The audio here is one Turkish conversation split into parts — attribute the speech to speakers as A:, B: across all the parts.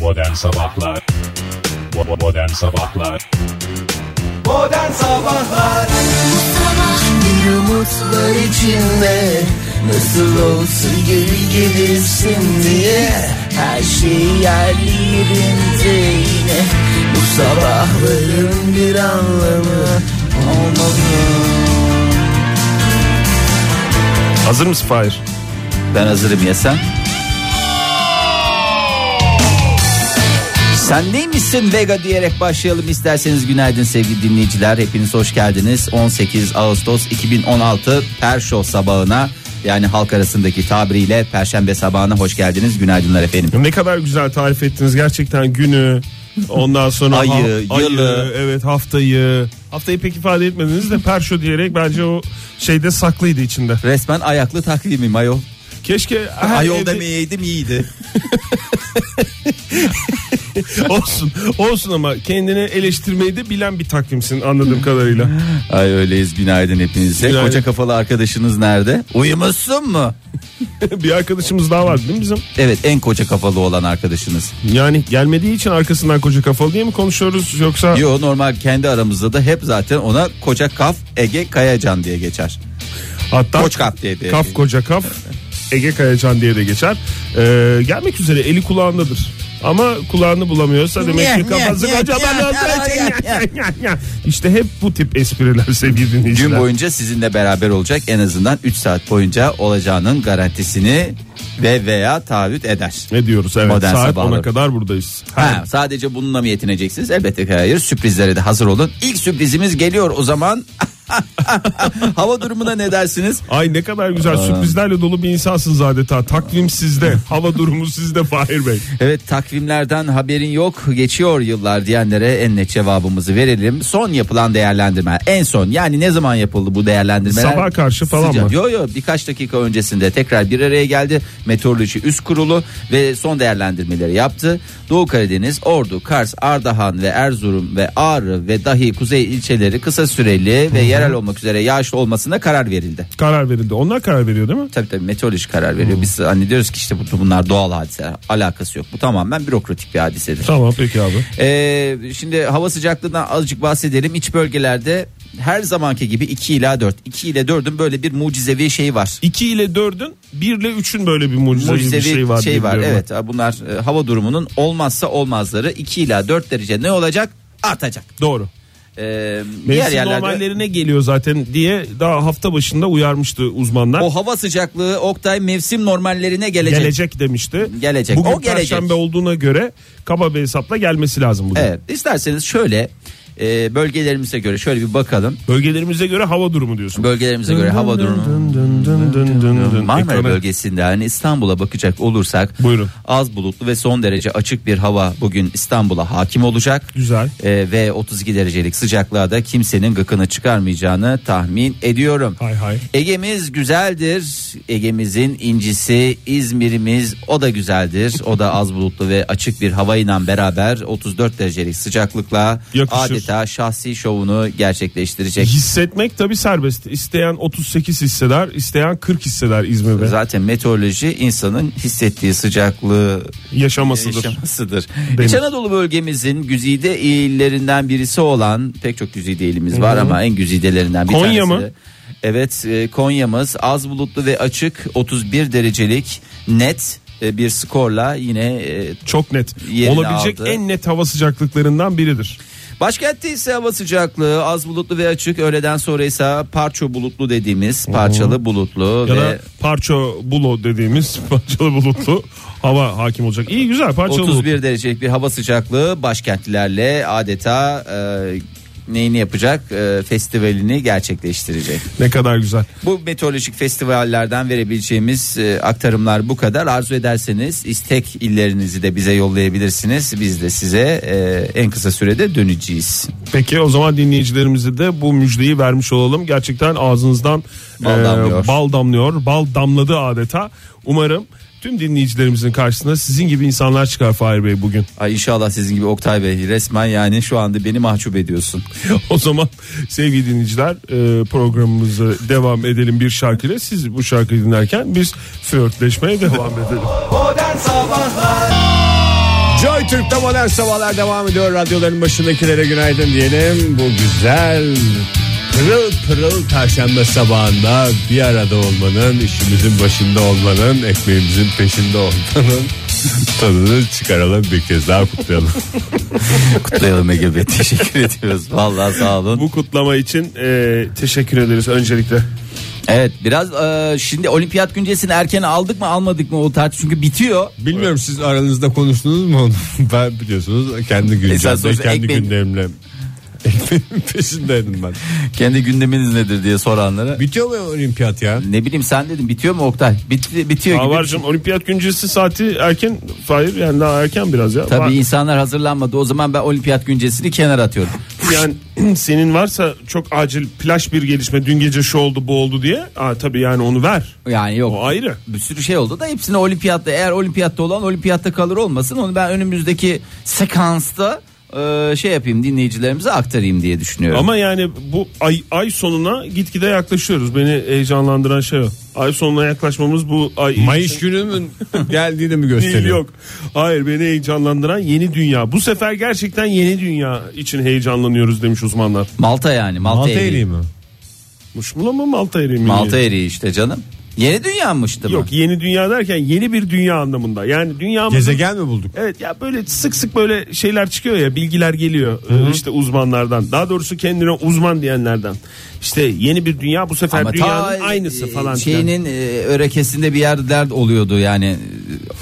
A: Modern Sabahlar Bo- Modern Sabahlar
B: Modern Sabahlar
C: Bir umut var içimde Nasıl olsa geri gelirsin diye Her şey yerli yerinde yine Bu sabahların bir anlamı olmalı
D: Hazır mısın Fahir?
E: Ben hazırım ya sen? Sen neymişsin Vega diyerek başlayalım isterseniz günaydın sevgili dinleyiciler hepiniz hoş geldiniz 18 Ağustos 2016 Perşo sabahına yani halk arasındaki tabiriyle Perşembe sabahına hoş geldiniz günaydınlar efendim
D: Ne kadar güzel tarif ettiniz gerçekten günü. Ondan sonra
E: Ayı,
D: ha-
E: yılı.
D: evet haftayı. Haftayı pek ifade etmediniz de perşo diyerek bence o şeyde saklıydı içinde.
E: resmen ayaklı takvimim ayol
D: Keşke her
E: ayol
D: evde-
E: demeyeydim iyiydi
D: olsun. Olsun ama kendini eleştirmeyi de bilen bir takvimsin anladığım kadarıyla.
E: Ay öyleyiz günaydın hepinize
D: Günaydın.
E: koca kafalı arkadaşınız nerede uyumuşsun mu
D: bir arkadaşımız daha var değil mi bizim?
E: evet en koca kafalı olan arkadaşınız
D: Yani gelmediği için arkasından koca kafalı diye mi konuşuyoruz yoksa
E: Yo normal kendi aramızda da hep zaten ona koca kaf Ege Kayacan diye geçer.
D: hatta
E: Koç kaf diye de.
D: Kaf koca kaf Ege Kayacan diye de geçer. Ee, gelmek üzere eli kulağındadır. Ama kulağını bulamıyorsa demek ki
E: Nyeh, nyeh,
D: kafası
E: nyeh,
D: kocaman
E: nyeh,
D: olduğu
E: nyeh,
D: için
E: nyeh,
D: nyeh, nyeh, nyeh. İşte hep bu tip espriler sevgili dinleyiciler.
E: Gün boyunca sizinle beraber olacak en azından 3 saat boyunca olacağının garantisini ve veya taahhüt eder.
D: Ne diyoruz evet
E: Modern
D: saat
E: sabahlar.
D: 10'a kadar buradayız.
E: Ha, sadece bununla mı yetineceksiniz? Elbette ki hayır. Sürprizlere de hazır olun. İlk sürprizimiz geliyor o zaman. Hava durumuna ne dersiniz?
D: Ay ne kadar güzel sürprizlerle dolu bir insansınız adeta. Takvim sizde. Hava durumu sizde Fahir Bey.
E: Evet takvimlerden haberin yok geçiyor yıllar diyenlere en net cevabımızı verelim. Son yapılan değerlendirme en son yani ne zaman yapıldı bu değerlendirmeler?
D: Sabaha karşı falan
E: Sıcak-
D: mı?
E: Yo yo birkaç dakika öncesinde tekrar bir araya geldi. Meteoroloji Üst Kurulu ve son değerlendirmeleri yaptı. Doğu Karadeniz, Ordu, Kars, Ardahan ve Erzurum ve Ağrı ve dahi kuzey ilçeleri kısa süreli ve yerel olmak üzere yağışlı olmasına karar verildi.
D: Karar verildi. Onlar karar veriyor değil mi?
E: Tabii tabii meteoroloji karar veriyor.
D: Hmm.
E: Biz hani diyoruz ki işte bu- bunlar doğal hadiseler. Alakası yok. Bu tamamen bürokratik bir hadisedir.
D: Tamam peki abi.
E: Ee, şimdi hava sıcaklığından azıcık bahsedelim. İç bölgelerde her zamanki gibi 2 ila 4. 2 ile 4'ün böyle bir mucizevi şeyi var.
D: 2 ile 4'ün 1 ile 3'ün böyle bir mucizevi,
E: Mucizevi
D: bir şey var. diye biliyorum.
E: Evet bunlar e, hava durumunun olmazsa olmazları 2 ila 4 derece ne olacak? Artacak.
D: Doğru.
E: Ee, diğer
D: Mevsim
E: yerlerde
D: normallerine geliyor zaten diye daha hafta başında uyarmıştı uzmanlar.
E: o hava sıcaklığı Oktay mevsim normallerine Oh, gelecek.
D: gelecek demişti.
E: Gelecek.
D: Bugün
E: O gelecek.
D: perşembe olduğuna göre kaba bir hesapla gelmesi lazım bugün.
E: Evet isterseniz şöyle e, bölgelerimize göre şöyle bir bakalım.
D: Bölgelerimize göre hava durumu diyorsun.
E: Bölgelerimize göre hava durumu. Marmara
D: Ekrana-
E: bölgesinde hani İstanbul'a bakacak olursak
D: Buyurun.
E: az bulutlu ve son derece açık bir hava bugün İstanbul'a hakim olacak.
D: Güzel.
E: Ee, ve 32 derecelik sıcaklığa da kimsenin gıkını çıkarmayacağını tahmin ediyorum.
D: Hay hay.
E: Ege'miz güzeldir. Ege'mizin incisi İzmir'imiz o da güzeldir. O da az bulutlu ve açık bir havayla beraber 34 derecelik sıcaklıkla
D: Yakışır.
E: adeta şahsi şovunu gerçekleştirecek.
D: Hissetmek tabi serbest. İsteyen 38 hisseder, isteyen 40 hisseder İzmir'de.
E: Zaten meteoroloji insanın hissettiği sıcaklığı
D: Yaşamasıdır.
E: yaşamasıdır. İç Anadolu bölgemizin güzide illerinden birisi olan pek çok güzide ilimiz var ama en güzidelerinden bir
D: Konya
E: tanesi
D: mı?
E: de- Evet e, Konya'mız az bulutlu ve açık 31 derecelik net e, bir skorla yine e,
D: Çok net.
E: Yerini
D: Olabilecek
E: aldı.
D: en net hava sıcaklıklarından biridir.
E: Başkentte ise hava sıcaklığı az bulutlu ve açık öğleden sonra ise parço bulutlu dediğimiz parçalı bulutlu
D: Ya
E: ve
D: da parço bulo dediğimiz parçalı bulutlu hava hakim olacak. İyi güzel parçalı
E: 31
D: bulutlu.
E: derecelik bir hava sıcaklığı başkentlilerle adeta e, neyini yapacak E, festivalini gerçekleştirecek.
D: Ne kadar güzel.
E: Bu meteorolojik festivallerden verebileceğimiz e, aktarımlar bu kadar. Arzu ederseniz istek illerinizi de bize yollayabilirsiniz. Biz de size e, en kısa sürede döneceğiz.
D: Peki o zaman dinleyicilerimize de bu müjdeyi vermiş olalım. Gerçekten ağzınızdan
E: Bal
D: e,
E: damlıyor.
D: bal damlıyor. Bal damladı adeta. Umarım tüm dinleyicilerimizin karşısına sizin gibi insanlar çıkar Fahir Bey bugün.
E: Ay inşallah sizin gibi Oktay Bey resmen yani şu anda beni mahcup ediyorsun.
D: o zaman sevgili dinleyiciler e, programımızı devam edelim bir şarkıyla. Siz bu şarkıyı dinlerken biz flörtleşmeye devam edelim.
B: Modern Sabahlar
D: Joy
F: Türk'te modern sabahlar devam ediyor. Radyoların başındakilere günaydın diyelim. Bu güzel pırıl pırıl perşembe sabahında bir arada olmanın, işimizin başında olmanın, ekmeğimizin peşinde olmanın tadını çıkaralım bir kez daha kutlayalım.
E: Kutlayalım Ege Bey teşekkür ediyoruz. Vallahi sağ olun.
D: Bu kutlama için e, teşekkür ederiz öncelikle.
E: Evet biraz e, şimdi olimpiyat güncesini erken aldık mı almadık mı o tartış çünkü bitiyor.
F: Bilmiyorum siz aranızda konuştunuz mu onu? Ben biliyorsunuz kendi
E: Esas
F: gündemimle,
E: sonuçta
F: kendi
E: ekmeğin-
F: gündemimle. Ekmeğimin peşindeydim ben.
E: Kendi gündeminiz nedir diye soranlara.
F: Bitiyor mu olimpiyat ya?
E: Ne bileyim sen dedim bitiyor mu Oktay? Bitti, bitiyor gibi.
D: Havarcığım olimpiyat güncesi saati erken. Hayır yani daha erken biraz ya.
E: Tabii
D: Var-
E: insanlar hazırlanmadı o zaman ben olimpiyat güncesini kenara atıyorum.
D: Yani senin varsa çok acil flash bir gelişme dün gece şu oldu bu oldu diye. Aa, tabii yani onu ver.
E: Yani yok.
D: O ayrı.
E: bir sürü şey oldu da hepsini olimpiyatta eğer olimpiyatta olan olimpiyatta kalır olmasın onu ben önümüzdeki sekansta e, şey yapayım dinleyicilerimize aktarayım diye düşünüyorum.
D: Ama yani bu ay ay sonuna gitgide yaklaşıyoruz. Beni heyecanlandıran şey o. Ay sonuna yaklaşmamız bu ay
F: Mayıs gününün geldiğini mi
D: değil
F: gösteriyor?
D: yok. Hayır beni heyecanlandıran yeni dünya. Bu sefer gerçekten yeni dünya için heyecanlanıyoruz demiş uzmanlar.
E: Malta yani Malta,
F: Malta
E: eriği.
F: eriği mi?
D: Muşmula mı Malta eriği mi?
E: Malta eriği işte canım. Yeni dünyanmıştı mı?
D: Yok yeni dünya derken yeni bir dünya anlamında. Yani dünyamızın
F: Gezegen mi bulduk?
D: Evet ya böyle sık sık böyle şeyler çıkıyor ya bilgiler geliyor Ee, işte uzmanlardan daha doğrusu kendine uzman diyenlerden işte yeni bir dünya bu sefer
E: Ama
D: dünyanın
E: ta,
D: aynısı
E: e,
D: falan filan.
E: Şeyinin e, örekesinde bir yerler oluyordu yani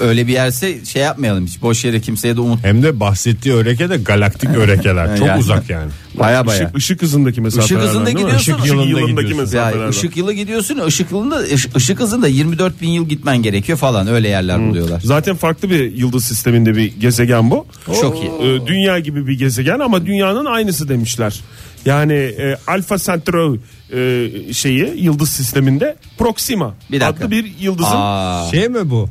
E: E, öyle bir yerse şey yapmayalım hiç boş yere kimseye de umut.
F: Hem de bahsettiği öreke de galaktik örekeler. Çok
E: Yani.
F: uzak yani.
E: Baya baya.
D: Işık, ışık hızındaki mesafelerden
E: hızında
D: değil mi?
E: gidiyorsun,
D: Işık
E: ışık
D: yılındaki,
F: yılında gidiyorsun.
D: mesafelerden.
E: Yani ışık yılı gidiyorsun ışık yılında ış- ışık hızında 24 bin yıl gitmen gerekiyor falan öyle yerler buluyorlar.
D: Zaten farklı bir yıldız sisteminde bir gezegen bu.
E: Çok iyi.
D: Ee, dünya gibi bir gezegen ama dünyanın aynısı demişler. Yani e, Alfa Centauri e, şeyi yıldız sisteminde Proxima
E: Bir dakika.
D: adlı bir yıldızın
E: Aa.
F: Şey mi bu?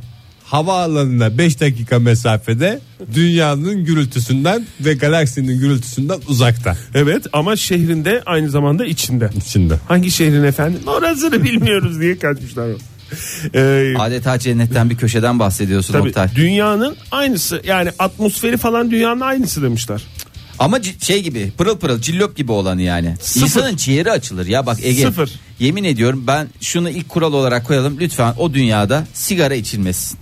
F: Havaalanına 5 dakika mesafede dünyanın gürültüsünden ve galaksinin gürültüsünden uzakta.
D: Evet ama şehrinde aynı zamanda içinde.
F: İçinde.
D: Hangi şehrin efendim? Orasını bilmiyoruz diye kaçmışlar. Ee,
E: Adeta cennetten bir köşeden bahsediyorsun
D: tabii
E: Oktay.
D: dünyanın aynısı yani atmosferi falan dünyanın aynısı demişler.
E: Ama c- şey gibi pırıl pırıl cillop gibi olanı yani.
D: Sıfır.
E: İnsanın ciğeri açılır ya bak Ege.
D: Sıfır.
E: Yemin ediyorum ben şunu ilk kural olarak koyalım. Lütfen o dünyada sigara içilmesin.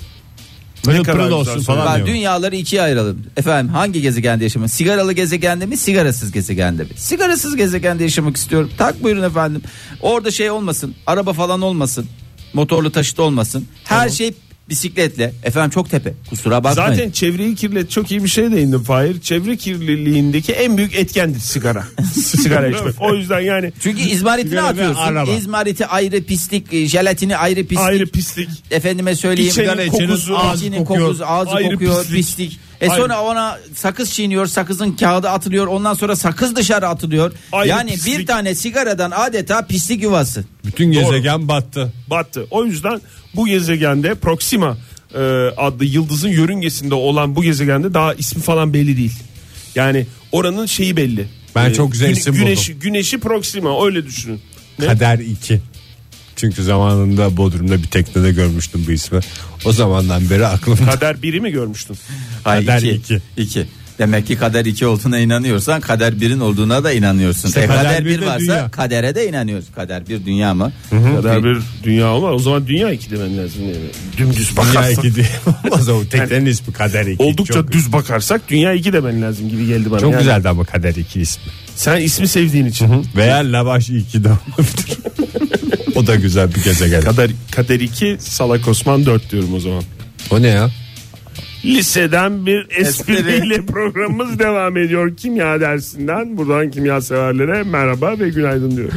F: Pırıl
D: kadar
F: pırıl
D: güzel
F: olsun
D: söyledin.
F: falan
E: Ben
F: diyor.
E: dünyaları ikiye ayıralım. Efendim hangi gezegende yaşamak? Sigaralı gezegende mi, sigarasız gezegende mi? Sigarasız gezegende yaşamak istiyorum. Tak buyurun efendim. Orada şey olmasın. Araba falan olmasın. Motorlu taşıt olmasın. Her şey bisikletle. Efendim çok tepe. Kusura bakmayın.
D: Zaten çevreyi kirlet çok iyi bir şey de indim Fahir. Çevre kirliliğindeki en büyük etkendir sigara. sigara içmek. O yüzden yani
E: Çünkü izmaritini
F: Sigara ve araba.
E: atıyorsun. İzmariti ayrı pislik, e, jelatini ayrı pislik.
D: ayrı pislik.
E: Efendime söyleyeyim.
D: İçerinin
E: Sigara
D: kokusu,
F: ağzı
E: içinin
F: kokuyor.
E: kokusu, ağzı
D: Ayrı
E: kokuyor,
D: pislik.
E: pislik. E
D: Ayrı.
E: sonra ona sakız çiğniyor, sakızın kağıdı atılıyor. Ondan sonra sakız dışarı atılıyor.
D: Ayrı
E: yani
D: pislik.
E: bir tane sigaradan adeta pislik yuvası.
F: Bütün gezegen battı.
D: battı. O yüzden bu gezegende Proxima e, adlı yıldızın yörüngesinde olan bu gezegende daha ismi falan belli değil. Yani oranın şeyi belli. E,
F: Ben çok güzel isim
D: güneşi, Güneşi Proxima öyle düşünün. Ne?
F: Kader 2. Çünkü zamanında Bodrum'da bir teknede görmüştüm bu ismi. O zamandan beri aklımda.
D: Kader biri mi görmüştün?
E: Ay,
F: Kader
E: iki,
F: iki.
E: iki. Demek ki kader iki olduğuna inanıyorsan kader birin olduğuna da inanıyorsun. E,
F: kader
E: kader,
F: bir
E: bir
F: de
E: varsa
F: dünya.
E: kadere de inanıyorsun. Kader bir dünya mı?
D: Kader bir dünya olmaz. O zaman dünya iki demen lazım. Yani dümdüz
F: Dünya
D: bakarsak.
F: 2 diye. Olmaz o teknenin ismi Kader 2.
D: Oldukça
F: çok,
D: düz bakarsak dünya iki demen lazım gibi geldi bana.
F: çok
D: Yani
F: güzeldi ama Kader 2 ismi.
D: Sen ismi sevdiğin için.
F: Veya Lavaş 2 de olabilir. o da güzel bir gezegen.
D: Kader, kader 2 Salak Osman 4 diyorum o zaman.
F: O ne ya?
D: Liseden bir espriyle programımız devam ediyor. Kimya dersinden buradan kimya severlere merhaba ve günaydın diyorum.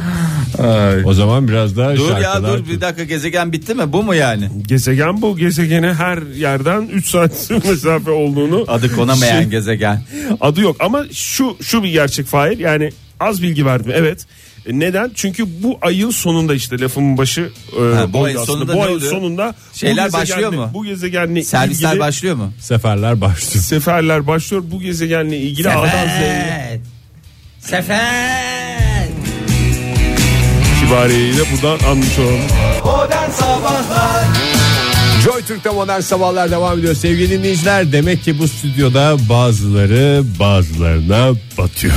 F: O zaman biraz daha
E: Dur ya
F: şarkılar-
E: dur bir dakika gezegen bitti mi? Bu mu yani?
D: Gezegen bu. Gezegene her yerden 3 saat mesafe olduğunu
E: Adı konamayan
D: Şey-
E: gezegen.
D: adı yok ama şu şu bir gerçek Fahir yani az bilgi verdim evet. E, Neden? Çünkü bu ayın sonunda işte lafımın başı e,
E: Ha, bu
D: oydu
E: ayın
D: aslında.
E: sonunda
D: bu
E: ne
D: ayın
E: oluyor?
D: sonunda
E: Şeyler
D: bu gezegenle-
E: başlıyor mu?
D: Bu gezegenle
E: Servisler
D: ilgili
E: başlıyor mu?
F: Seferler başlıyor.
D: seferler başlıyor. Bu gezegenle ilgili A'dan Z'ye
E: Sefer.
D: itibariyle buradan anmış olalım.
B: Modern Sabahlar
F: Joy Türk'te modern sabahlar devam ediyor sevgili dinleyiciler. Demek ki bu stüdyoda bazıları bazılarına batıyor.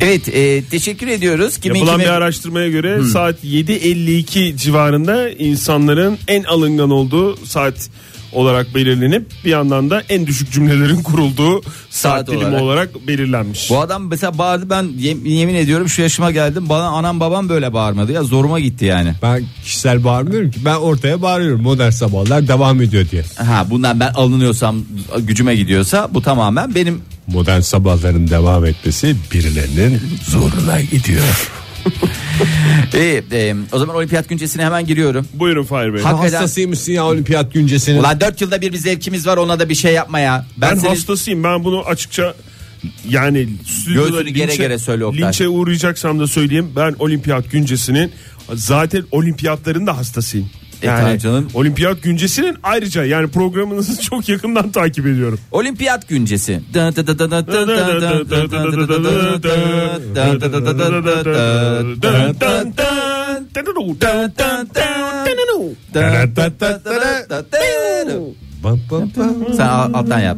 E: Evet e, teşekkür ediyoruz. Kimin
D: Yapılan
E: kime-
D: bir araştırmaya göre saat 7.52 civarında insanların en alıngan olduğu saat olarak belirlenip bir yandan da en düşük cümlelerin kurulduğu saat,
E: Saat
D: dilimi olarak,
E: olarak.
D: belirlenmiş.
E: Bu adam mesela bağırdı ben yem- yemin ediyorum şu yaşıma geldim bana anam babam böyle bağırmadı ya zoruma gitti yani.
F: Ben kişisel bağırmıyorum ki ben ortaya bağırıyorum modern sabahlar devam ediyor diye.
E: Ha bundan ben alınıyorsam gücüme gidiyorsa bu tamamen benim
F: Modern sabahların devam etmesi birilerinin zoruna gidiyor.
E: İyi, e, o zaman olimpiyat güncesine hemen giriyorum.
D: Buyurun Fahir Bey.
E: Ha- Hakikaten-
F: Hastasıymışsın ya olimpiyat güncesinin.
E: Ulan 4 yılda bir bir zevkimiz var ona da bir şey yapma ya. Ben,
D: ben
E: seni
D: hastasıyım ben bunu açıkça yani stüdyoda
E: Göğsünü gere gere söyle Oktay.
D: linçe uğrayacaksam da söyleyeyim ben olimpiyat güncesinin zaten olimpiyatların da hastasıyım.
E: E, tabii canım.
D: olimpiyat güncesinin ayrıca yani programınızı çok yakından takip ediyorum.
E: olimpiyat güncesi.
F: Bam, bam, bam.
E: Sen al- alttan yap.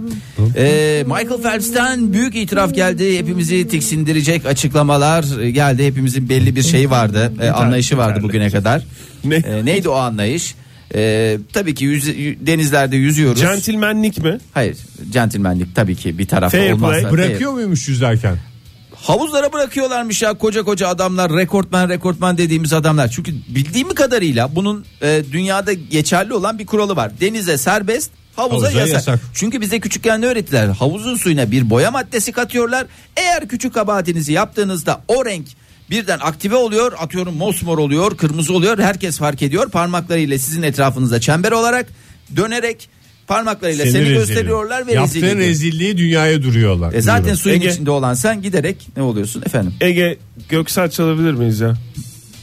E: Ee, Michael Phelps'ten büyük itiraf geldi. Hepimizi tiksindirecek açıklamalar geldi. Hepimizin belli bir şeyi vardı. e, anlayışı vardı bugüne kadar.
D: Ne?
E: Ee, neydi o anlayış? Ee, tabii ki yüz- yü- denizlerde yüzüyoruz.
D: Centilmenlik mi?
E: Hayır, centilmenlik tabii ki bir tarafta
D: Fair
E: olmazsa.
D: play.
E: fair.
F: Bırakıyor muymuş yüzerken?
E: Havuzlara bırakıyorlarmış ya koca koca adamlar, rekortmen rekortmen dediğimiz adamlar. Çünkü bildiğim kadarıyla bunun e, dünyada geçerli olan bir kuralı var. Denize serbest, havuza,
F: Havuza
E: yasak.
F: yasak.
E: Çünkü bize küçükken ne öğrettiler? Havuzun suyuna bir boya maddesi katıyorlar. Eğer küçük kabahatinizi yaptığınızda o renk birden aktive oluyor. Atıyorum mosmor oluyor, kırmızı oluyor. Herkes fark ediyor. Parmaklarıyla sizin etrafınıza çember olarak dönerek parmaklarıyla seni,
F: rezil ediyor.
E: gösteriyorlar ve rezil
F: Yaptığın
E: ediyor.
F: rezilliği dünyaya duruyorlar.
E: E zaten
F: Duyuyorum.
E: suyun
D: Ege-
E: içinde olan sen giderek ne oluyorsun efendim?
D: Ege Göksel çalabilir miyiz ya?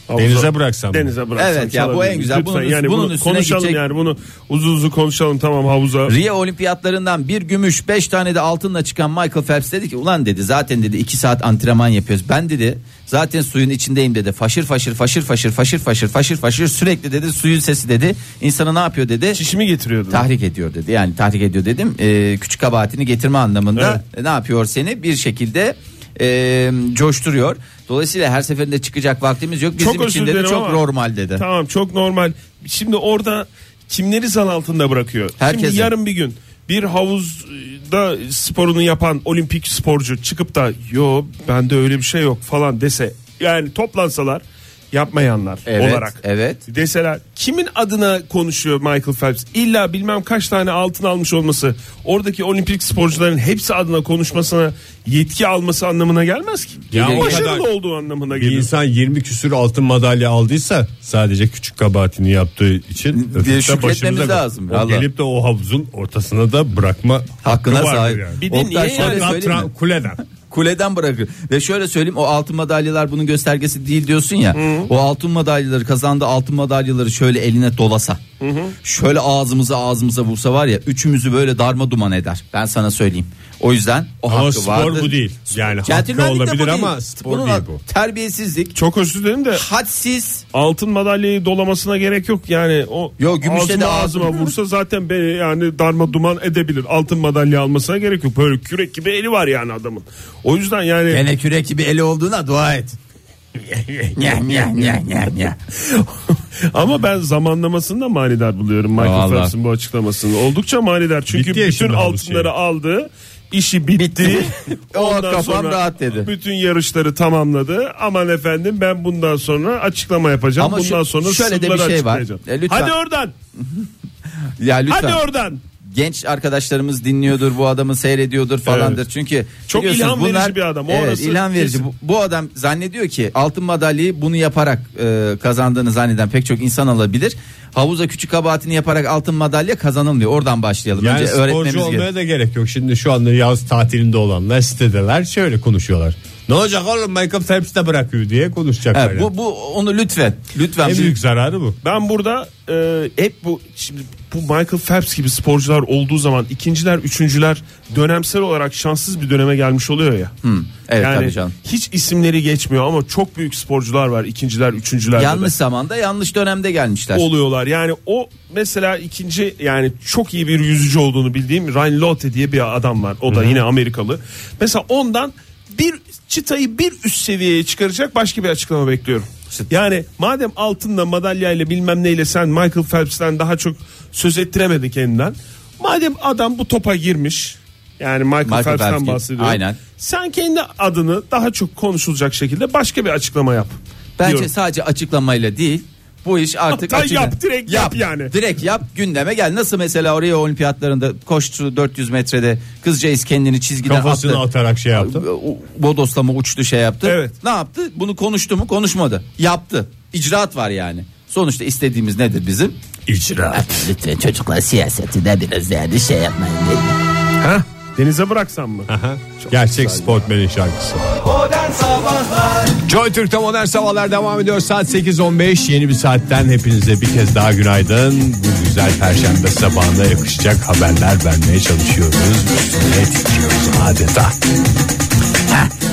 D: Havuza-
F: Denize bıraksam mı?
D: Denize bıraksam.
E: Evet ya, bu
D: çalabilir
E: en
D: miyiz?
E: güzel.
D: Lütfen
E: Bunun üst-
D: yani
E: bunun
D: bunu
E: üstüne
D: konuşalım
E: gidecek-
D: yani bunu uzun uzun konuşalım tamam havuza.
E: Rio olimpiyatlarından bir gümüş 5 tane de altınla çıkan Michael Phelps dedi ki ulan dedi zaten dedi 2 saat antrenman yapıyoruz. Ben dedi zaten suyun içindeyim dedi. Faşır faşır faşır faşır faşır faşır faşır faşır sürekli dedi suyun sesi dedi. İnsanı ne yapıyor dedi?
D: Çişimi getiriyordu.
E: tahrik ediyor dedi. Yani tahrik ediyor dedim. e, küçük kabahatini getirme anlamında ne yapıyor seni bir şekilde e, coşturuyor. Dolayısıyla her seferinde çıkacak vaktimiz yok. Bizim
D: çok özür
E: için dedi
D: dilerim
E: çok
D: ama-
E: normal dedi.
D: Tamam çok normal. Şimdi orada kimleri zan altında bırakıyor?
E: Herkesi.
D: Şimdi yarın bir gün bir havuzda sporunu yapan olimpik sporcu çıkıp da yo bende öyle bir şey yok falan dese yani toplansalar yapmayanlar
E: Evet,
D: olarak
E: evet.
D: deseler kimin adına konuşuyor Michael Phelps illa bilmem kaç tane altın almış olması oradaki olimpik sporcuların hepsi adına konuşmasına yetki alması anlamına gelmez ki.
F: Ya
D: Ya
F: o
D: başarılı
F: kadar-
D: olduğu anlamına
F: Bir
D: gelir.
F: insan 20 küsür altın madalya aldıysa sadece küçük kabahatini yaptığı için öpüp de
E: şükretmemiz
F: başımıza-
E: lazım.
F: O
E: Vallahi.
F: gelip de o havuzun ortasına da bırakma
E: Hakkına
F: hakkı vardır
E: sahip.
F: yani.
D: Bir de
E: Oktay,
D: niye
E: şöyle
D: yani?
F: Hatta
E: söyleyeyim mi?
F: tra- kuleden.
E: Kuleden bırakıyor. Ve şöyle söyleyeyim o altın madalyalar bunun göstergesi değil diyorsun ya. O altın madalyaları kazandı altın madalyaları şöyle eline dolasa. Şöyle ağzımıza ağzımıza vursa var ya üçümüzü böyle darma duman eder. Ben sana söyleyeyim. O yüzden o
F: Ama
E: hakkı
F: spor
E: vardır.
F: bu değil. Yani hakkı
E: Centilmenlik de bu
F: olabilir
E: değil.
F: ama spor
E: Bunun
F: değil bu.
E: Terbiyesizlik,
D: Çok özür dilerim de
E: hadsiz.
D: altın madalyayı dolamasına gerek yok yani o
E: Yo, gümüşle
D: ağzıma,
E: de ağzım-
D: ağzıma vursa zaten beni yani darma duman edebilir altın madalya almasına gerek yok böyle kürek gibi eli var yani adamın o yüzden yani
E: Gene kürek gibi eli olduğuna dua et. Nyah, nyah, nyah, nyah, nyah.
D: ama ben zamanlamasını da manidar buluyorum Michael
E: Vallahi.
D: Phelps'in bu açıklamasını oldukça manidar çünkü
F: Bitti ya
D: bütün
F: şimdi havuz
D: altınları
F: şeyi.
D: aldı işi bitti,
E: Bitti. O
D: Ondan
E: kafam
D: sonra
E: rahat dedi.
D: Bütün yarışları tamamladı. Aman efendim ben bundan sonra açıklama yapacağım.
E: Ama şu-
D: bundan sonra
E: şöyle de bir
D: sırları
E: şey var.
D: açıklayacağım.
E: E, lütfen.
D: Hadi oradan.
E: Ya lütfen.
D: Hadi oradan.
E: genç arkadaşlarımız dinliyordur bu adamı seyrediyordur falandır. Çünkü
D: Çok
E: biliyorsunuz
D: ilham verici bir adam, o
E: evet,
D: orası
E: ilham verici.
D: kesin.
E: Bu, bu adam zannediyor ki altın madalyayı bunu yaparak e, kazandığını zanneden pek çok insan alabilir. Havuza küçük kabahatini yaparak altın madalya kazanılmıyor. Oradan başlayalım.
F: Yani
E: Önce öğretmemiz
F: sporcu olmaya
E: gerekiyor.
F: da gerek yok. Şimdi şu anda yaz tatilinde olanlar sitedeler şöyle konuşuyorlar. Ne olacak oğlum Michael Phelps de bırakıyor diye konuşacaklar.
E: Evet, bu bu onu lütfen lütfen
F: en
E: bir-
F: büyük zararı bu.
D: Ben burada e, hep bu şimdi bu Michael Phelps gibi sporcular olduğu zaman ikinciler, üçüncüler dönemsel olarak şanssız bir döneme gelmiş oluyor ya.
E: evet,
D: yani
E: tabii canım.
D: hiç isimleri geçmiyor ama çok büyük sporcular var ikinciler, üçüncüler.
E: Yanlış zamanda yanlış dönemde gelmişler.
D: oluyorlar. Yani o mesela ikinci yani çok iyi bir yüzücü olduğunu bildiğim Ryan Lochte diye bir adam var. O da yine Amerikalı. Mesela ondan bir çıtayı bir üst seviyeye çıkaracak başka bir açıklama bekliyorum. Yani madem altınla madalyayla bilmem neyle sen Michael Phelps'ten daha çok söz ettiremedin kendinden. Madem adam bu topa girmiş. Yani Michael,
E: Michael
D: Phelps'ten
E: Phelps gibi.
D: bahsediyorum.
E: Aynen.
D: Sen kendi adını daha çok konuşulacak şekilde başka bir açıklama yap.
E: Bence
D: diyorum.
E: sadece açıklamayla değil. Bu iş artık
D: Hatta yap, direkt yap yani.
E: Direkt yap gündeme gel. Nasıl mesela oraya olimpiyatlarında koştu 400 metrede kızcağız kendini çizgiden
F: Kafasını
E: attı.
F: atarak şey yaptı.
E: O- Bodoslama uçtu şey yaptı.
D: Evet.
E: Ne yaptı? Bunu konuştu mu? Konuşmadı. Yaptı. İcraat var yani. Sonuçta istediğimiz nedir bizim?
F: İcra.
C: Lütfen çocuklar siyaseti de biraz yani şey yapmayın.
D: Ha? Denize bıraksan mı?
F: Gerçek sportmenin şarkısı.
B: Modern Sabahlar
F: Joy Türk'te modern sabahlar devam ediyor. Saat 8.15 yeni bir saatten hepinize bir kez daha günaydın. Bu güzel perşembe sabahına yakışacak haberler vermeye çalışıyoruz. Üstüne titriyoruz adeta.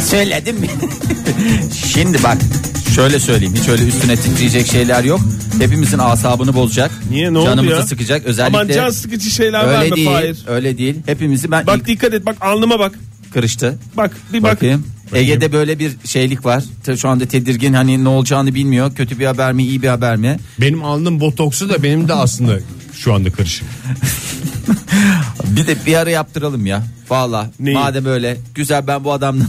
E: Söyledim mi? Şimdi bak şöyle söyleyeyim hiç öyle üstüne titreyecek şeyler yok. Hepimizin asabını bozacak.
D: Niye, ne oldu
E: Canımızı
D: ya?
E: sıkacak
D: Aman
E: özellikle.
D: can sıkıcı şeyler
E: öyle
D: verme
E: değil.
D: Fahir.
E: Öyle değil. Hepimizi ben
D: Bak dikkat et bak alnıma bak.
E: kırıştı.
D: Bak bir bak.
E: Bakayım. Ege'de böyle bir şeylik var. Tabii Şu anda tedirgin hani ne olacağını bilmiyor. Kötü bir haber mi iyi bir haber mi?
F: Benim alnım botoksu da benim de aslında şu anda karışık.
E: Bir de bir ara yaptıralım ya. Valla
D: Neyi?
E: madem öyle güzel ben bu adamla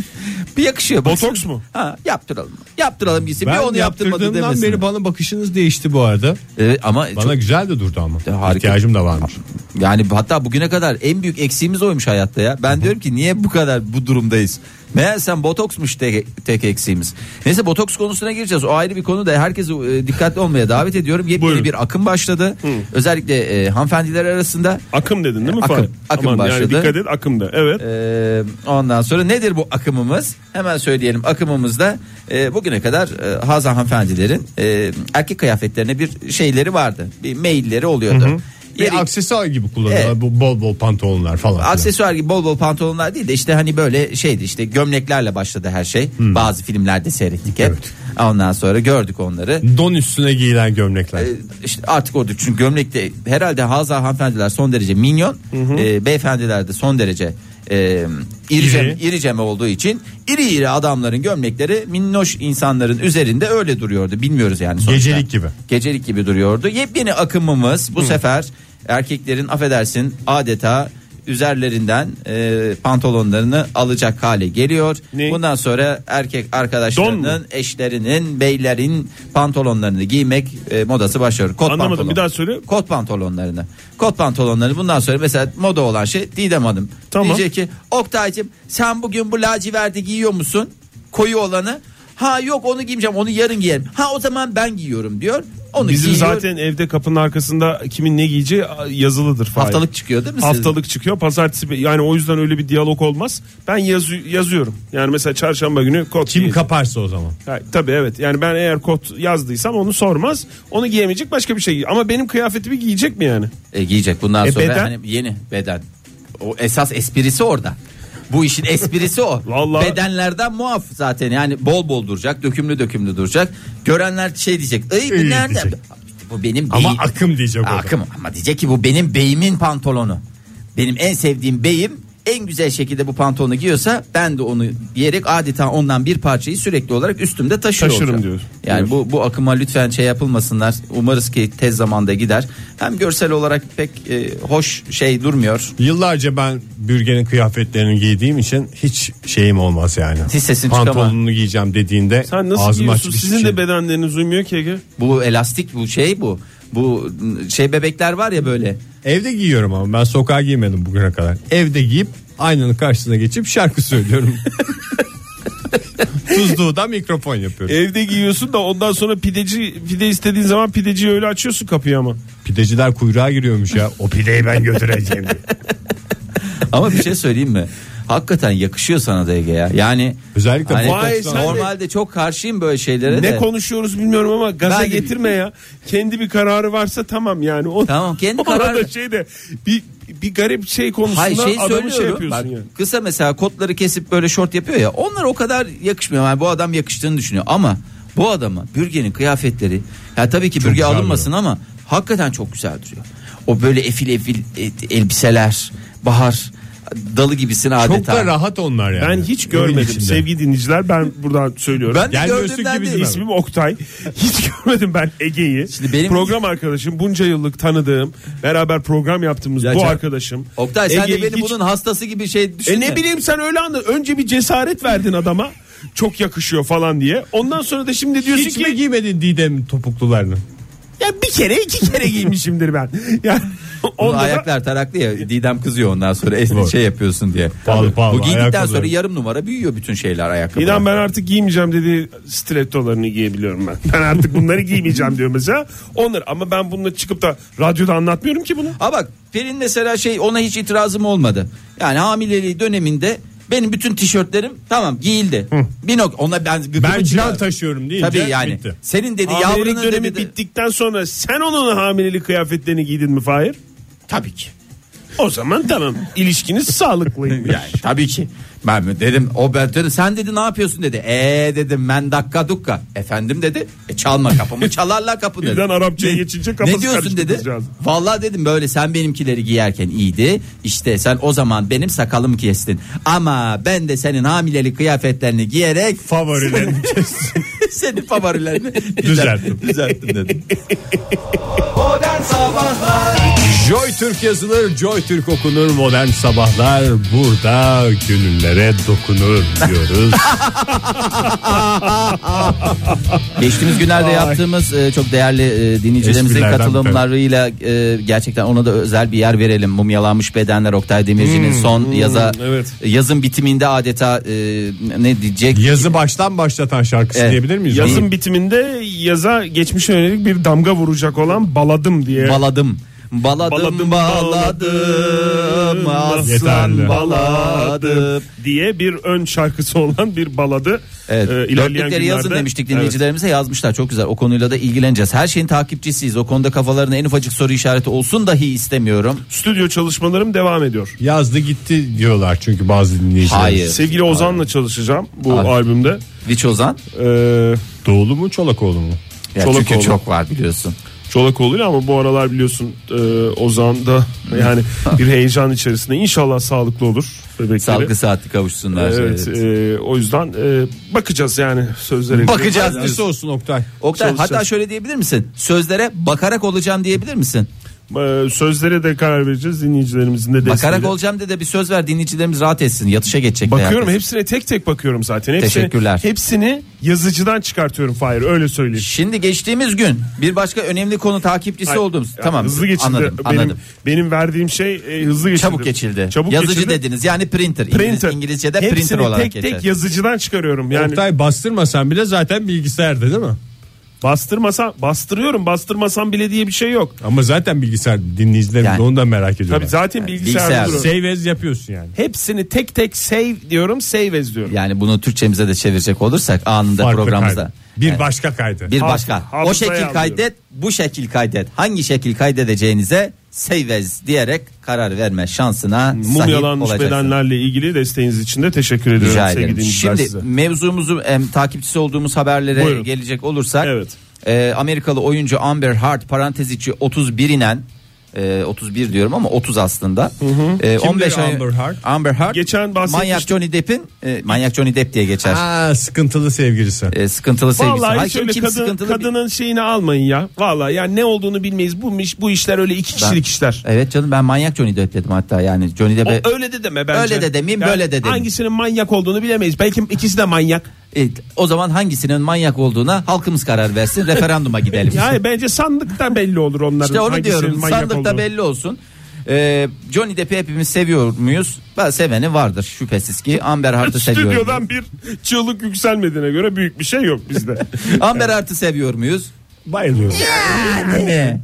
E: bir yakışıyor. baksana.
D: Botoks mu?
E: Ha, yaptıralım. Yaptıralım gitsin. bir onu yaptırmadı
F: yaptırdığımdan
E: demesin.
F: beri bana bakışınız değişti bu arada.
E: Evet, ama
F: Bana
E: çok-
F: güzel de durdu ama.
E: harika.
F: İhtiyacım da varmış.
E: Yani hatta bugüne kadar en büyük eksiğimiz oymuş hayatta ya. Ben diyorum ki niye bu kadar bu durumdayız? Meğersem botoksmuş tek, tek eksiğimiz. Neyse botoks konusuna gireceğiz. O ayrı bir konu da herkesi e, dikkatli olmaya davet ediyorum. Yepyeni
D: Buyurun.
E: bir akım başladı. Özellikle e, hanımefendiler arasında.
D: Akım dedin değil mi
E: E, Akım.
D: Fahir?
E: Akım
D: Aman
E: başladı.
D: Yani dikkat et akımda. Evet.
E: E, ondan sonra nedir bu akımımız? Hemen söyleyelim akımımızda e, bugüne kadar e, Hazan hanımefendilerin e, erkek kıyafetlerine bir şeyleri vardı. Bir mailleri oluyordu. Yeri-
F: Bir aksesuar gibi kullanıyorlar.
E: Evet.
F: Bu bol bol pantolonlar falan. filan.
E: aksesuar gibi bol bol pantolonlar değil de işte hani böyle şeydi işte gömleklerle başladı her şey.
F: Hmm.
E: Bazı filmlerde seyrettik hep. Ondan sonra gördük onları.
F: Don üstüne giyilen gömlekler.
E: Ee, İşte artık orada çünkü gömlekte herhalde Hazar hanımefendiler son derece minyon. Ee, beyefendiler de son derece e, iricem,
D: İri.
E: iricem olduğu için iri iri adamların gömlekleri minnoş insanların üzerinde öyle duruyordu. Bilmiyoruz yani sonuçta.
F: Gecelik gibi.
E: Gecelik gibi duruyordu. Yepyeni akımımız bu sefer erkeklerin affedersin adeta üzerlerinden e, pantolonlarını alacak hale geliyor.
D: Ne?
E: Bundan sonra erkek
D: Don mu?
E: arkadaşlarının, eşlerinin, beylerin pantolonlarını giymek e, modası başlıyor. Kot
D: Anlamadım,
E: pantolon.
D: bir daha söyle.
E: Kot pantolonlarını. Kot pantolonlarını bundan sonra mesela moda olan şey Didem Hanım.
D: Tamam.
E: Diyecek ki Oktay'cım sen bugün bu laciverti giyiyor musun? Koyu olanı. Ha yok onu giymeyeceğim onu yarın giyerim. Ha o zaman ben giyiyorum diyor. Onu
D: Bizim
E: giyiyor.
D: zaten evde kapının arkasında kimin ne giyeceği yazılıdır Fahir.
E: haftalık çıkıyor değil mi? sizin?
D: Haftalık çıkıyor. Pazartesi yani o yüzden öyle bir diyalog olmaz. Ben yazı- yazıyorum. Yani mesela çarşamba günü kot
F: Kim
D: giyeceğim.
F: kaparsa o zaman.
D: Ha, Tabii evet. Yani ben eğer kot yazdıysam onu sormaz. Onu giyemeyecek başka bir şey. giy- Ama benim kıyafetimi giyecek mi yani?
E: E, giyecek bundan
D: E,
E: sonra
D: beden?
E: hani yeni beden. O esas esprisi orada. Bu işin esprisi o.
D: Vallahi-
E: Bedenlerden muaf zaten yani bol bol duracak, dökümlü dökümlü duracak. Görenler şey diyecek. Ay bu
F: İyi
E: nerede?
F: diyecek.
E: Bu benim
F: Ama
E: bey-
F: akım diyecek o da.
E: Akım ama diyecek ki bu benim beyimin pantolonu. Benim en sevdiğim beyim en güzel şekilde bu pantolonu giyiyorsa ben de onu giyerek adeta ondan bir parçayı sürekli olarak üstümde taşıyor
D: Taşırım
E: olacağım.
D: diyor.
E: Yani
D: Diyor.
E: bu bu akıma lütfen şey yapılmasınlar. Umarız ki tez zamanda gider. Hem görsel olarak pek e, hoş şey durmuyor.
F: Yıllarca ben bürgenin kıyafetlerini giydiğim için hiç şeyim olmaz yani.
E: Hiç sesin
F: Pantolonunu
E: çıkamaz.
F: giyeceğim dediğinde
D: Sen nasıl
F: ağzımı
D: giyiyorsun?
F: açıp hiçbir
D: Sizin
F: şey-
D: de bedenleriniz uymuyor ki Ege.
E: Bu elastik bu şey bu. Bu m, şey bebekler var ya böyle.
F: Evde giyiyorum ama ben sokağa giymedim bugüne kadar. Evde giyip aynanın karşısına geçip şarkı söylüyorum. Tuzluğu'da mikrofon yapıyorum.
D: Evde giyiyorsun da ondan sonra pideci pide istediğin zaman pideciyi öyle açıyorsun kapıyı ama.
F: Pideciler kuyruğa giriyormuş ya. O pideyi ben götüreceğim. diye.
E: Ama bir şey söyleyeyim mi? Hakikaten yakışıyor sana da Ege ya. Yani hani
F: Özellikle bu
D: Vay, sen de-
E: normalde çok karşıyım böyle şeylere
D: Ne
E: de.
D: konuşuyoruz bilmiyorum ama gaza
E: Ben de
D: getirme ya. Kendi bir kararı varsa tamam yani. O,
E: Tamam, kendi
D: o arada
E: kararı-
D: şey de bir, bir garip şey konusunda
E: Hayır şey
D: adamı şey
E: söylüyorum.
D: yapıyorsun
E: Bak,
D: yani.
E: Kısa mesela kotları kesip böyle şort yapıyor ya. Onlar o kadar yakışmıyor. Yani bu adam yakıştığını düşünüyor ama bu adama bürgenin kıyafetleri ya tabii ki bürge
F: güzel
E: alınmasın ama hakikaten çok güzel duruyor. O böyle efil efil e, elbiseler, bahar dalı gibisin
F: Çok
E: adeta.
F: da rahat onlar yani.
D: Ben hiç
F: Evin
D: görmedim
F: içinde.
D: sevgili dinleyiciler ben buradan söylüyorum.
E: Ben de
F: Gel
E: gördüğümden
F: göğsün gibi
E: değil.
D: İsmim Oktay. Hiç görmedim ben Ege'yi.
E: Şimdi benim-
D: program arkadaşım, bunca yıllık tanıdığım, beraber program yaptığımız
E: Ya
D: bu
E: can-
D: arkadaşım.
E: Oktay sen
D: Ege'yi
E: de beni
D: hiç-
E: bunun hastası gibi şey
D: E
E: düşünme.
D: ne bileyim sen öyle anla. Önce bir cesaret verdin adama. Çok yakışıyor falan diye. Ondan sonra da şimdi diyorsun
F: Hiç
D: ki
F: mi giymedin Didem topuklularını?
D: ya bir kere iki kere giymişimdir ben. Yani
E: Bunun
D: onda da
E: ayaklar taraklı ya Didem kızıyor ondan sonra esni
F: Doğru.
E: şey yapıyorsun diye.
F: Pahalı, pahalı,
E: Bu giydikten
F: ayakkabılar.
E: sonra yarım numara büyüyor bütün şeyler ayakkabılar.
D: İnan ben artık giymeyeceğim dedi stilettolarını giyebiliyorum ben. Ben artık bunları giymeyeceğim diyor mesela. Onları ama ben bununla çıkıp da radyoda anlatmıyorum ki bunu.
E: Ha bak Pelin mesela şey ona hiç itirazım olmadı. Yani hamileliği döneminde benim bütün tişörtlerim tamam giyildi. Bir nok ona ben gıkımı
F: Ben can
E: çıkardım.
F: taşıyorum deyince
E: Tabii yani.
F: bitti.
E: Senin dedi
D: Hamilelik
E: yavrunun
D: dönemi
E: dedi. de-
D: bittikten sonra sen onun hamilelik kıyafetlerini giydin mi Fahir? Tabii ki. O zaman tamam ilişkiniz sağlıklıymış.
E: Yani tabii ki. Ben dedim o ben dedim sen dedi ne yapıyorsun dedi. E dedim ben dakika dukka. Efendim dedi. E çalma kapımı çalarlar kapını dedi.
D: Birden Arapçaya geçince kafası
E: Ne diyorsun
D: karıştı
E: dedi.
D: kızcağız.
E: Vallahi dedim böyle sen benimkileri giyerken iyiydi. İşte sen o zaman benim sakalımı kestin. Ama ben de senin hamilelik kıyafetlerini giyerek
F: Favorilerini
E: senin favorilerini
F: Düzelttim.
E: düzelttim dedim.
B: Modern Sabahlar
F: Joy Türk yazılır, Joy Türk okunur. Modern sabahlar burada gönüllere dokunur diyoruz.
E: Geçtiğimiz günlerde yaptığımız e, çok değerli e, dinleyicilerimizin
F: Esprilerden
E: katılımlarıyla e, gerçekten ona da özel bir yer verelim. Mumyalanmış bedenler Oktay Demirci'nin son yaza
D: evet.
E: yazın bitiminde adeta e, ne diyecek?
F: Yazı baştan başlatan şarkısı
E: Evet.
F: diyebilir miyiz?
E: Yazı-
D: Yazın bitiminde yaza geçmişe yönelik bir damga vuracak olan baladım diye.
E: Baladım. Baladım
D: Baladım,
E: baladım aslan
F: Yeterli.
E: baladım.
D: diye bir ön şarkısı olan bir baladı.
E: Evet.
D: Ee,
E: dörtlükleri yazın demiştik
D: Evet.
E: dinleyicilerimize yazmışlar çok güzel o konuyla da ilgileneceğiz her şeyin takipçisiyiz o konuda kafalarına en ufacık soru işareti olsun dahi istemiyorum
D: Stüdyo çalışmalarım devam ediyor.
F: Yazdı gitti diyorlar çünkü bazı dinleyiciler.
E: Hayır. Evet.
D: Sevgili Ozan'la çalışacağım bu
E: Abi.
D: albümde.
E: Viç Ozan
D: Ee,
F: Doğulu mu Çolakoğlu mu?
E: Ya
D: Çolakoğlu.
E: çünkü çok var biliyorsun
D: Çolakoğlu'yla ama bu aralar biliyorsun e, Ozan da yani bir heyecan içerisinde. İnşallah sağlıklı olur bebekleri.
E: Salgı saati kavuşsunlar.
D: Evet,
E: Evet.
D: e, o yüzden e, bakacağız yani sözlere.
E: Bakacağız.
F: Nasıl olsun Oktay?
E: Oktay
D: çalışacağız.
E: hatta şöyle diyebilir misin? Sözlere bakarak olacağım diyebilir misin?
D: E, sözlere de karar vereceğiz dinleyicilerimizin de desteğiyle.
E: Bakarak olacağım de de bir söz ver dinleyicilerimiz rahat etsin. Yatışa geçecek.
D: Bakıyorum
E: herkes.
D: hepsine tek tek bakıyorum zaten. Hepsini,
E: Teşekkürler.
D: Hepsini yazıcıdan çıkartıyorum Fahir öyle söyleyeyim.
E: Şimdi geçtiğimiz gün bir başka önemli konu takipçisi
D: Ay,
E: oldum.
D: ya
E: tamam.
D: Hızlı geçildi.
E: Anladım.
D: benim,
E: anladım.
D: benim verdiğim şey e, hızlı geçildi.
E: Çabuk geçildi.
D: Çabuk
E: Yazıcı
D: geçildi.
E: dediniz. Yani printer. İngiliz-
D: Printer.
E: İngilizce'de
D: Hepsini
E: printer olarak
D: tek
E: geçer.
D: tek yazıcıdan çıkarıyorum. Yani
F: Oktay bastırmasan bile zaten bilgisayarda değil mi?
D: bastırmasam bastırıyorum. Bastırmasam bile diye bir şey yok.
F: Ama zaten bilgisayar dinleyicilerim
E: Yani.
F: de onu da merak ediyorlar.
D: Tabii zaten
E: bilgisayar.
D: bilgisayarda duruyor.
F: Save as yapıyorsun yani.
D: Hepsini tek tek save diyorum, save as diyorum.
E: Yani bunu Türkçemize de çevirecek olursak anında
F: Farklı
E: programımızda.
F: kaydı. Bir
E: Evet.
F: başka kaydı.
E: Bir
D: Hafı-
E: başka. o
D: hafızaya
E: şekil
D: alıyorum.
E: kaydet, bu şekil kaydet. Hangi şekil kaydedeceğinize save as diyerek karar verme şansına sahip
D: Mumyalanmış
E: olacaksınız.
D: bedenlerle ilgili desteğiniz için de teşekkür ediyorum
E: Rica
D: sevgili
E: ederim.
D: dinleyiciler
E: Şimdi
D: size.
E: mevzumuzu em, takipçisi olduğumuz haberlere
D: Buyurun.
E: gelecek olursak.
D: Evet.
E: e, Amerikalı oyuncu Amber Hart parantez içi 31 inen e, 31 diyorum ama 30 aslında. E,
F: Kimdir
E: 15 ay-
F: Amber Hart?
E: Amber Hart.
D: Geçen bahsetmiştim.
E: Manyak Johnny Depp'in e, Manyak Johnny Depp diye geçer.
F: Aa, sıkıntılı sevgilisi.
E: E, sıkıntılı sevgisi.
D: Vallahi
E: Hayır,
D: hiç öyle
E: kim
D: kadın,
E: sıkıntılı bir-
D: kadının şeyini almayın ya. Vallahi yani ne olduğunu bilmeyiz. Bu, iş- bu işler öyle iki kişilik işler.
E: Evet canım ben manyak Johnny Depp dedim hatta yani Johnny Depp'e
D: O, öyle de deme bence.
E: Öyle de demeyeyim, böyle de demeyeyim.
D: Hangisinin manyak olduğunu bilemeyiz. Belki ikisi de manyak.
E: E, o zaman hangisinin manyak olduğuna halkımız karar versin referanduma gidelim.
D: Ya hayır, bence sandıkta belli olur onların.
E: işte onu
D: hangisinin
E: diyorum
D: manyak
E: sandıkta
D: olduğu.
E: belli olsun. E, Johnny Depp'i hepimiz seviyor muyuz? Ben seveni vardır şüphesiz ki Amber Hart'ı seviyorum.
D: Stüdyodan bir çığlık yükselmediğine göre büyük bir şey yok bizde.
E: Amber Hart'ı seviyor muyuz?
F: Bayılıyorum.
E: Yani. Ee,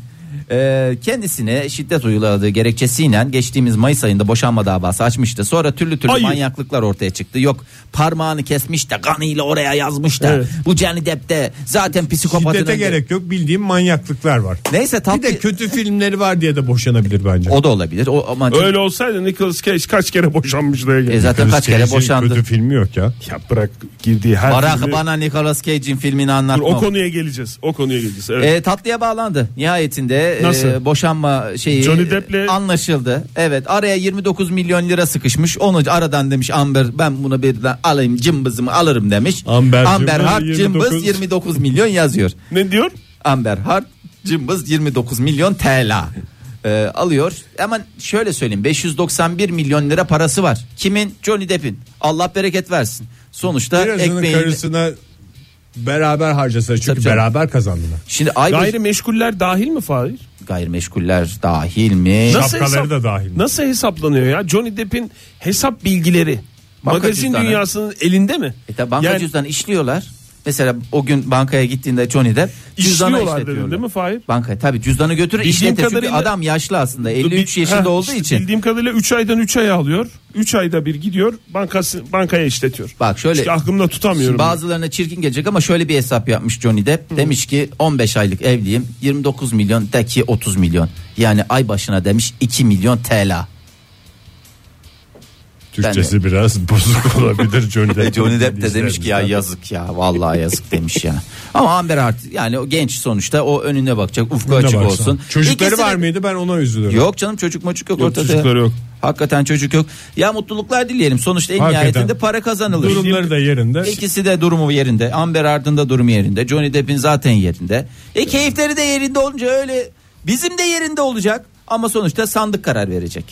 E: E, kendisine şiddet uyguladığı gerekçesiyle geçtiğimiz Mayıs ayında boşanma davası açmıştı. Sonra türlü türlü
D: Ay.
E: manyaklıklar ortaya çıktı. Yok parmağını kesmiş de kanıyla oraya yazmış da
D: Evet.
E: bu Johnny Depp de zaten psikopatın...
F: Şiddete
E: önde-
F: gerek yok bildiğim manyaklıklar var.
E: Neyse tam
F: Bir de kötü filmleri var diye de boşanabilir bence.
E: o da olabilir. O ama
D: Öyle olsaydı Nicolas Cage kaç kere boşanmış diye
E: E zaten kaç kere
F: Scorsese
E: boşandı.
F: Kötü filmi yok ya.
D: Ya bırak girdiği her
E: Bırak
D: filmi-
E: bana Nicolas Cage'in filmini
D: Dur,
E: anlatma.
D: o konuya geleceğiz. O konuya geleceğiz. Evet.
E: E, tatlıya bağlandı. Nihayetinde e,
D: Nasıl?
E: boşanma şeyi e,
D: Johnny Depp'le-
E: anlaşıldı. Evet araya 29 milyon lira sıkışmış. Onu aradan demiş Amber ben bunu birden alayım cımbızımı alırım demiş.
F: Amber'cim,
E: Amber Hart
F: 29
E: cımbız 29 milyon yazıyor.
D: Ne diyor?
E: Amber Hart cımbız 29 milyon TL e, alıyor. Ama şöyle söyleyeyim 591 milyon lira parası var. Kimin? Johnny Depp'in. Allah bereket versin. Sonuçta
F: Birazının
E: ekmeğini...
F: karısına beraber harcasa çünkü
E: Tabii canım.
F: beraber kazandılar.
E: Şimdi ay
D: Gayrimeşguller dahil mi Fahir?
E: gayrimeşguller dahil mi?
F: Şapkaları da dahil mi?
D: Nasıl hesaplanıyor ya? Johnny Depp'in hesap bilgileri
E: Banka
D: magazin
E: cüzdanı.
D: dünyasının elinde mi?
E: E tabi banka
D: Yani
E: cüzdanı işliyorlar. Mesela o gün bankaya gittiğinde Johnny Depp cüzdanı
D: İşliyorlar dedin
E: işletiyorlar.
D: değil mi Fahir?
E: Banka tabi cüzdanı götürür
D: Bildiğim
E: işletir. Çünkü
D: kadarıyla-
E: adam yaşlı aslında 53
D: Bil-
E: yaşında
D: Ha,
E: olduğu
D: işte
E: için.
D: Bildiğim kadarıyla 3 aydan 3 aya alıyor. 3 ayda bir gidiyor bankası, bankaya işletiyor.
E: Bak şöyle-
D: İşte aklımda tutamıyorum.
E: Şimdi bazılarına çirkin gelecek ama şöyle bir hesap yapmış Johnny Depp. Demiş ki 15 aylık evliyim 29 milyon de ki 30 milyon. Yani ay başına demiş 2 milyon TL.
F: Türkçesi biraz bozuk olabilir Johnny
E: E,
F: Depp.
E: Johnny Depp de demiş ki ya yazık ya vallahi yazık demiş ya. Ama Amber Hart yani o genç sonuçta o önüne bakacak ufku
F: Ne
E: açık
F: varsa.
E: olsun.
F: Çocukları
E: İkisi de-
F: var mıydı ben ona üzülüyorum.
E: Yok canım çocuk moçuk yok,
D: Yok,
E: ortada.
D: çocukları yok.
E: Hakikaten çocuk yok. Ya mutluluklar dileyelim. Sonuçta en
F: Hakikaten.
E: nihayetinde para kazanılır.
F: Durumları da yerinde.
E: İkisi de durumu yerinde. Amber Hard'ın da durumu yerinde. Johnny Depp'in zaten yerinde. E keyifleri de yerinde olunca öyle bizim de yerinde olacak. Ama sonuçta sandık karar verecek.